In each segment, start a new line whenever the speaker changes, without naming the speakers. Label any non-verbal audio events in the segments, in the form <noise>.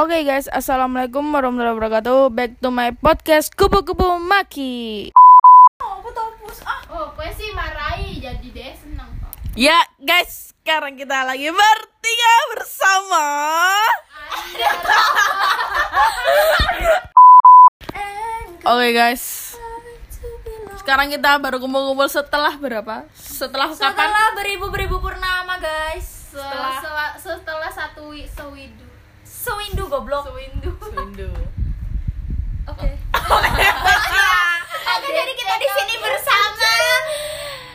Oke guys, assalamualaikum warahmatullahi wabarakatuh. Back to my podcast kupu-kupu maki.
Oh, gue sih marahi jadi dia seneng kok.
Ya guys, sekarang kita lagi bertiga bersama. Oke guys, sekarang kita baru kumpul-kumpul setelah berapa? Setelah, kapan?
Setelah beribu-beribu purnama guys
Setelah
Setelah
setelah, setelah satu wi- sewidu,
Sewindu goblok
sewindu.
Oke Oke jadi kita di sini bersama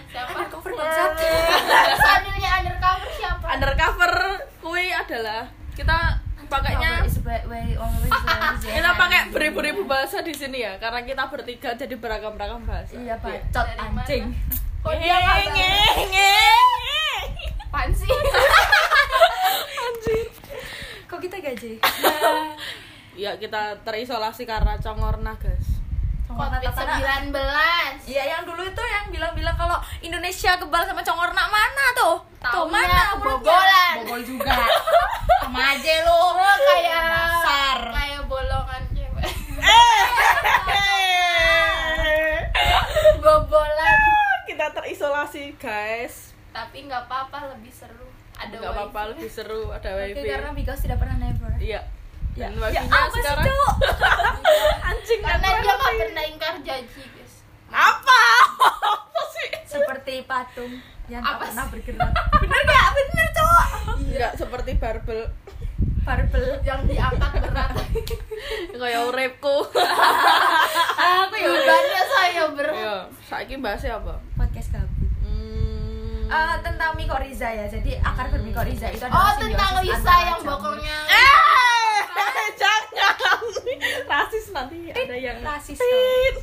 Siapa?
Undercover
Iya,
bangsat
Seandainya undercover siapa?
Undercover kue adalah kita pakainya
Always by way, always by way.
kita pakai beribu-ribu bahasa di sini ya karena kita bertiga jadi beragam-ragam bahasa
Iya bacot
Dari mana?
anjing
Oh,
Kok
Iya,
iya,
dia kabar? Apaan sih?
Kok
gitu,
kita gaji?
ya kita terisolasi karena congorna guys
Covid 19.
Iya yang dulu itu yang bilang-bilang kalau Indonesia kebal sama congorna mana tuh?
Taunya
Tuh mana mulutnya?
kebobolan.
Bobol juga. Sama aja lu.
Oh, kayak
Dasar.
kayak bolongan cewek. <laughs>
bobolan Eh, kita terisolasi guys
Tapi nggak apa-apa, lebih seru. Ada
nggak
wifi.
apa-apa lebih seru ada
Oke
wifi
karena because tidak pernah never
iya dan
Ya
wifi nya
apa sih
sekarang
cowok?
<laughs> anjing
Karena
nggak
dia nggak
ngerti.
pernah ingkar janji, guys.
apa <laughs> apa sih
Seperti patung yang tak
Apa
pernah
sih?
bergerak
bener gak bener cowok
Iya.
nggak seperti barbel
Barbel
Yang diangkat berat.
kayak urepku
Aku
ya Bebannya saya berat.
ya saiki bahasnya apa
podcast gabut
hmm.
Eh, tentang Miko Riza ya. Jadi akar Miko Riza itu
Oh,
adalah
tentang Lisa
simbiosis antara
yang
jamur.
bokongnya.
Eh, <laughs> jangan rasis nanti ada yang
Iya.
Rasis.
Tit.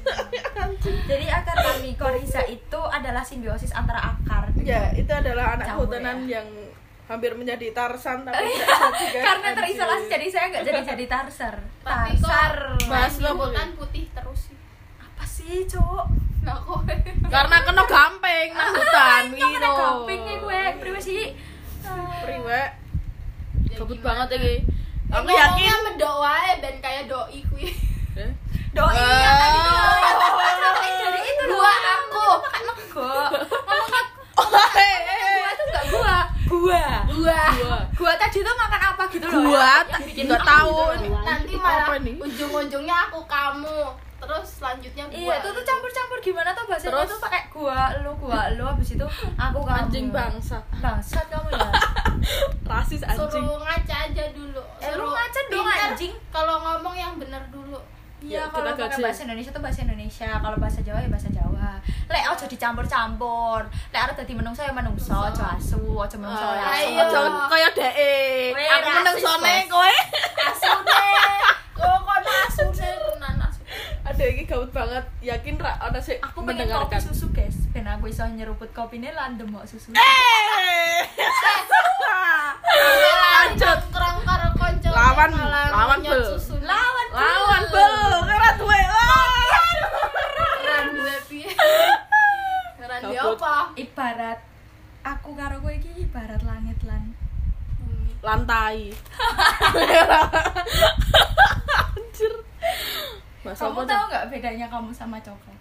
Jadi akar Miko Riza itu adalah simbiosis antara akar.
<laughs>
Iya.
ya itu adalah anak
Campur
hutanan
ya.
yang hampir menjadi tarsan tapi
<laughs>
tidak jadi, guys.
Karena
Anjir.
terisolasi jadi saya nggak jadi jadi tarser.
Tapi kok
Tarsar.
Bahas
Bahas
lo, Bu.
hutan putih terus sih.
Apa sih, Cok?
Nah, kok
karena kena gampeng
<laughs>
nang hutan
Itu kena gapingnya gue. Priwe sih.
priwe
Ya
kabut
gimana?
banget iki aku
Aku
yakin
yakin mendoae ya, ben kayak doi kuwi.
Eh,
Doi yang tadi tuh. Sampai dari itu
Gua
doang.
aku.
Pakai lego. Ngomong aku.
<laughs> eh, eh,
Gua tuh nggak gua. Gua.
Gua.
gua
Gua tadi tuh makan apa gitu loh.
gua
yang
tak-
bikin
nggak
aku
tahu
gitu loh.
ini.
Nanti
Itu apa
malah
nih?
ujung-ujungnya aku kamu. Terus selanjutnya gua.
Iya, itu tuh campur-campur gimana tuh bahasanya
Terus?
tuh pakai gua, lu, gua, lu habis itu aku kamu.
anjing bangsa
Bangsat
<laughs>
kamu ya.
rasis anjing
Suruh ngaca aja dulu.
Eh, lu
Suruh
ngaca dong,
pinter.
anjing.
Kalau ngomong yang bener dulu.
Iya,
Ya,
kalau
kita
pakai
gaji.
bahasa Indonesia tuh bahasa Indonesia, kalau bahasa Jawa ya bahasa Jawa. Lek ojo dicampur-campur. Lek arep dadi menungso ya menungso, ojo asu, ojo menungso ya.
Ah,
asu.
Ayo.
Ojo kaya dee.
Weh,
Aku
rasis,
meneng sone
Mas.
kowe.
Asune. Kok kok asune tenan asune.
<laughs> Aduh iki gabut banget. Yakin ra ana sik
Aku pengen kopi
mendengarkan.
susu, guys. Ben aku iso nyeruput kopine lan demok susu.
Eh. <laughs> Lanjut.
Nongkrong karo kanca.
Lawan,
malah
lawan,
nyot
Bel.
susu.
Lawan
Lawan bel, kira duwe. Ah.
Ngeran duwe piye? Ngeran duwe
Kabut.
apa?
ibarat aku karo kowe iki ibarat langit lan
Bumi.
Lantai. Anjir. Mas
Kamu
apa
tahu nggak bedanya kamu sama coklat?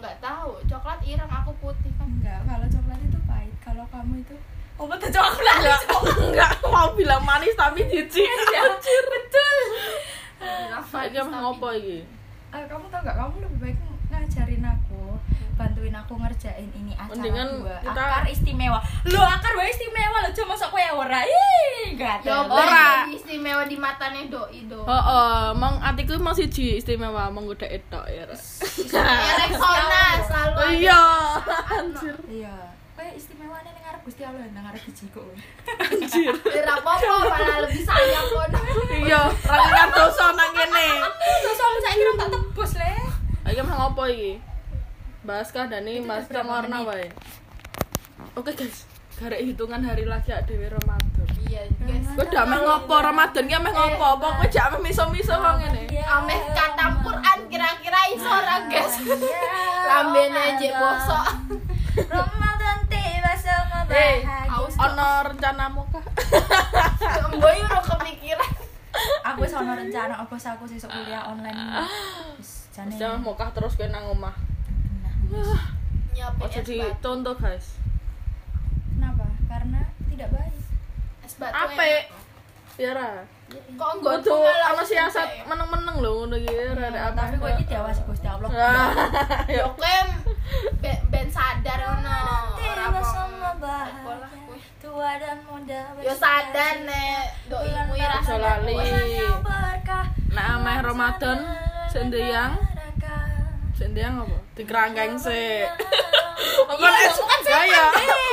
Nggak tahu, coklat ireng aku putih kan.
Enggak, kalau coklat itu pahit. Kalau kamu itu Oh, betul coklat.
Enggak, enggak mau bilang manis tapi jijik. Anjir. Betul. Iki
Tapi-
mah ngopo iki?
Eh, kamu tahu nggak? Kamu lebih baik ngajarin aku, bantuin aku ngerjain ini acara
Mendingan
gua.
kita-
Akar istimewa. Lo akar wae istimewa lo cuma sok kowe ora. Ih,
Ya
gatel.
Ora.
ora istimewa di matanya doi
<laughs>
do.
Heeh, mong atiku mong siji istimewa, mong gede etok ya. Ra.
Ereksona Iya, selalu.
Oh
ada.
Iya, anjir.
Iya. Kowe istimewane ning ngarep Gusti Allah, nang ngarep biji kok.
Anjir.
Ya, ra apa-apa malah lebih sayang kon.
Iya, ra ngekat dosa nang kene.
Terus soalnya saya kira tak tebus le.
Iki mah ngopo iki? Bahas kahdani Mas
udah berapa
Warna
menit?
wae. Oke guys, garek hitungan hari lagi ada dhewe Ramadan.
Iya, guys.
Kowe dak meh ngopo Ramadan ki
Eh,
meh ngopo? Apa kowe jak meh miso-miso kok ngene?
Iya.
Ameh katam Quran kira-kira iso ora, guys.
Iya.
Lambene jek bosok.
Ramadan tiba sama
Hey,
bahagia.
haus.
Ono rencanamu kah?
Mboy ora kepikiran.
Aku tak anak bos aku sesuk kuliah online. Wis, Jane.
Jangan mokah terus kena nang omah.
Nah,
nyiapin
Ojo
es batu
dicontoh, guys.
Kenapa? Karena tidak baik.
es batu
Ape? Ya ra.
enak. kok enggak
Kudu ana siasat meneng-meneng lho ngono iki ya, rek apa.
Tapi kok iki diawasi Gusti Allah.
yo kem ben, ben sadar ngono ora
Tiba semua
apa
bahagia Tua dan muda
yo Ya, sadar nek dok ilmu ya
Ojo lali. Nek ameh Ramadan sendeyang, sendeyang apa? Dikerangkeng sik. Engkon es ya ya.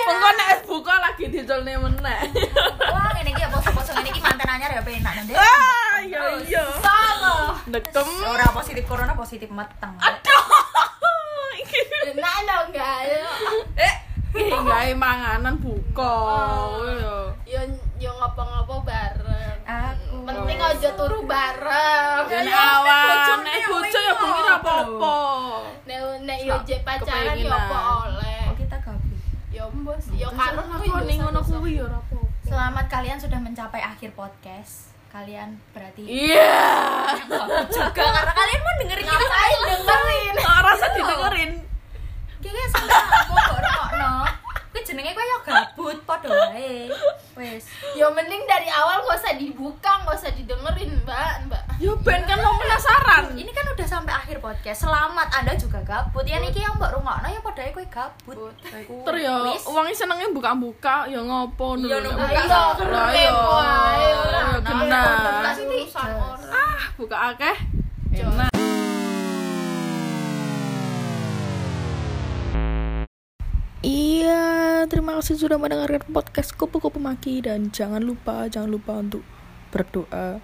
Engkon es buka lagi dicolne meneh.
Wah, ini iki ya bos-bos ngene iki mantan anyar ya penak nanti.
Ah, ya iya.
solo
Dekem.
Ora positif corona, positif meteng.
enak lo enggak yo
Iki gawe manganan buka. ngono lho.
yo yo ngopo-ngopo bareng
Aku
penting aja turu bareng
Ya nek awan, nek bojo ya bengi ra apa-apa.
nek nek yo je pacaran yo
Kepinginan.
apa oleh
Kok kita gabung.
yo mbos yo karo
lakoni ngono kuwi ya ora apa-apa.
Selamat kalian sudah mencapai akhir podcast. Kalian berarti
Iya.
juga karena kalian mau dengerin kita
ngapain dengerin
Ora rasa didengerin.
Kayaknya sama aku kok rokno. Kuwi jenenge kowe ya gabut padha wae. Wis.
yo mending dari awal gak usah dibuka gak usah didengerin mbak mbak
Yo ben kan mau penasaran.
Ini kan udah sampai akhir podcast. Selamat Anda juga gabut. Ya niki yang mbok rungokno ya padhae kowe gabut.
Tur ya
Wis.
wonge senenge buka-buka ya ngopo lho.
Iya, nunggu
Lah, Lah
ayo ayo Nah, iya,
iya.
ayo
Ya bener.
Kasih kan urusan orang
Buka akeh. Enak. Iya, terima kasih sudah mendengarkan podcast Kupu-Kupu Maki dan jangan lupa, jangan lupa untuk berdoa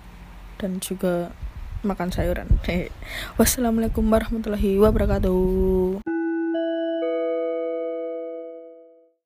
dan <laughs> juga makan sayuran. Wassalamualaikum warahmatullahi wabarakatuh.